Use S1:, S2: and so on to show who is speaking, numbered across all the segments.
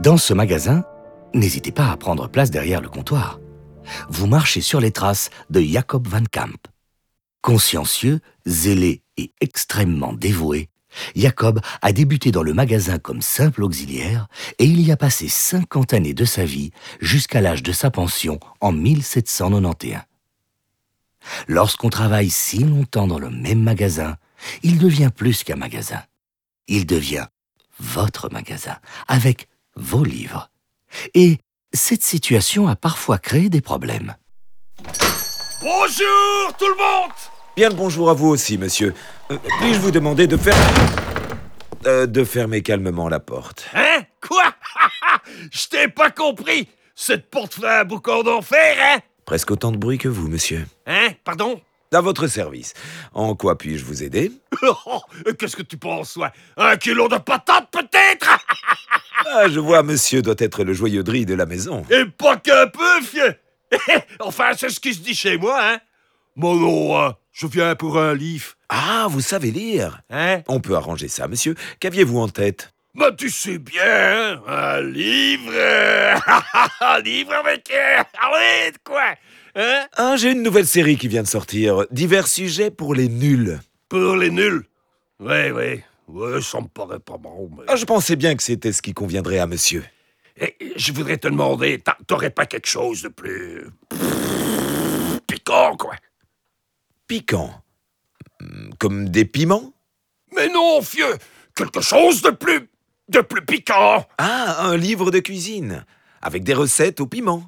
S1: Dans ce magasin, n'hésitez pas à prendre place derrière le comptoir. Vous marchez sur les traces de Jacob Van Camp. Consciencieux, zélé et extrêmement dévoué, Jacob a débuté dans le magasin comme simple auxiliaire et il y a passé 50 années de sa vie jusqu'à l'âge de sa pension en 1791. Lorsqu'on travaille si longtemps dans le même magasin, il devient plus qu'un magasin. Il devient votre magasin, avec vos livres. Et cette situation a parfois créé des problèmes.
S2: Bonjour tout le monde
S3: Bien le bonjour à vous aussi, monsieur. Euh, Puis-je vous demander de faire... Euh, de fermer calmement la porte.
S2: Hein Quoi Je t'ai pas compris Cette porte fait un boucan d'enfer, hein
S3: Presque autant de bruit que vous, monsieur.
S2: Hein Pardon
S3: À votre service. En quoi puis-je vous aider
S2: Oh, Qu'est-ce que tu penses, ouais Un kilo de patates, peut-être
S3: Ah, je vois, monsieur doit être le joyeux dri de la maison.
S2: Et pas qu'un peu, vieux Enfin, c'est ce qui se dit chez moi, hein Bon, non, hein, je viens pour un livre,
S3: Ah, vous savez lire
S2: hein
S3: On peut arranger ça, monsieur. Qu'aviez-vous en tête
S2: Bah, tu sais bien, hein, un livre euh, Un livre avec... euh, Arlette, quoi Hein
S3: Ah, j'ai une nouvelle série qui vient de sortir. Divers sujets pour les nuls.
S2: Pour les nuls Ouais, ouais. Ouais, ça me paraît pas bon, mais...
S3: Ah, je pensais bien que c'était ce qui conviendrait à monsieur.
S2: Eh, je voudrais te demander, t'a- t'aurais pas quelque chose de plus. piquant, quoi.
S3: Piquant. Hmm, Comme des piments
S2: Mais non, vieux, quelque chose de plus. de plus piquant.
S3: Ah, un livre de cuisine. Avec des recettes au piment.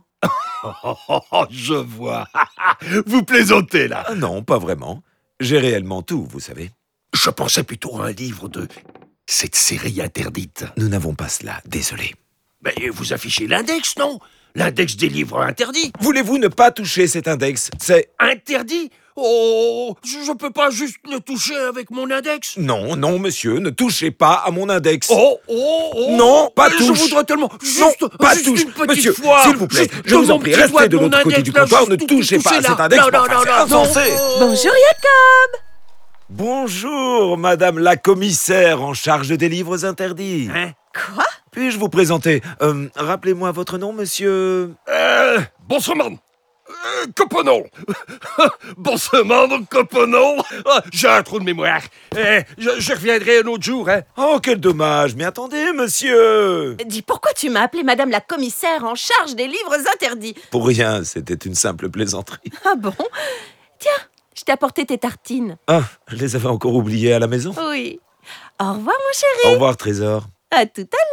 S2: Oh, oh, oh, je vois. Vous plaisantez, là.
S3: Ah non, pas vraiment. J'ai réellement tout, vous savez.
S2: Je pensais plutôt à un livre de. cette série interdite.
S3: Nous n'avons pas cela, désolé.
S2: Mais vous affichez l'index, non L'index des livres interdits.
S3: Voulez-vous ne pas toucher cet index C'est...
S2: Interdit Oh, je je peux pas juste le toucher avec mon index.
S3: Non, non, monsieur, ne touchez pas à mon index.
S2: Oh, oh, oh
S3: Non, pas
S2: Mais
S3: touche.
S2: Je voudrais tellement juste,
S3: non, pas
S2: juste
S3: touche.
S2: une petite
S3: monsieur,
S2: fois
S3: s'il vous plaît,
S2: juste
S3: je vous
S2: mon
S3: en prie,
S2: petit
S3: restez
S2: doigt
S3: de
S2: mon
S3: l'autre côté
S2: index,
S3: du
S2: là,
S3: comptoir,
S2: juste
S3: ne
S2: tout-
S3: touchez
S2: toucher
S3: pas à
S2: là.
S3: cet index,
S2: Non,
S3: mais
S2: non,
S3: enfin,
S2: non,
S3: c'est
S2: non,
S3: insensé.
S2: non.
S4: Bonjour Jacob
S3: Bonjour, madame la commissaire en charge des livres interdits.
S2: Hein
S4: Quoi
S3: Puis-je vous présenter Euh, Rappelez-moi votre nom, monsieur...
S2: Euh, bonsoir, man. Euh, Coponon. bonsoir, man, Coponon. Ah, J'ai un trou de mémoire. Euh, je, je reviendrai un autre jour, hein.
S3: Oh, quel dommage, mais attendez, monsieur
S4: Dis pourquoi tu m'as appelé Madame la commissaire en charge des livres interdits
S3: Pour rien, c'était une simple plaisanterie.
S4: Ah bon Tiens, je t'ai apporté tes tartines.
S3: Ah, je les avais encore oubliées à la maison.
S4: Oui. Au revoir mon chéri.
S3: Au revoir, trésor.
S4: À tout à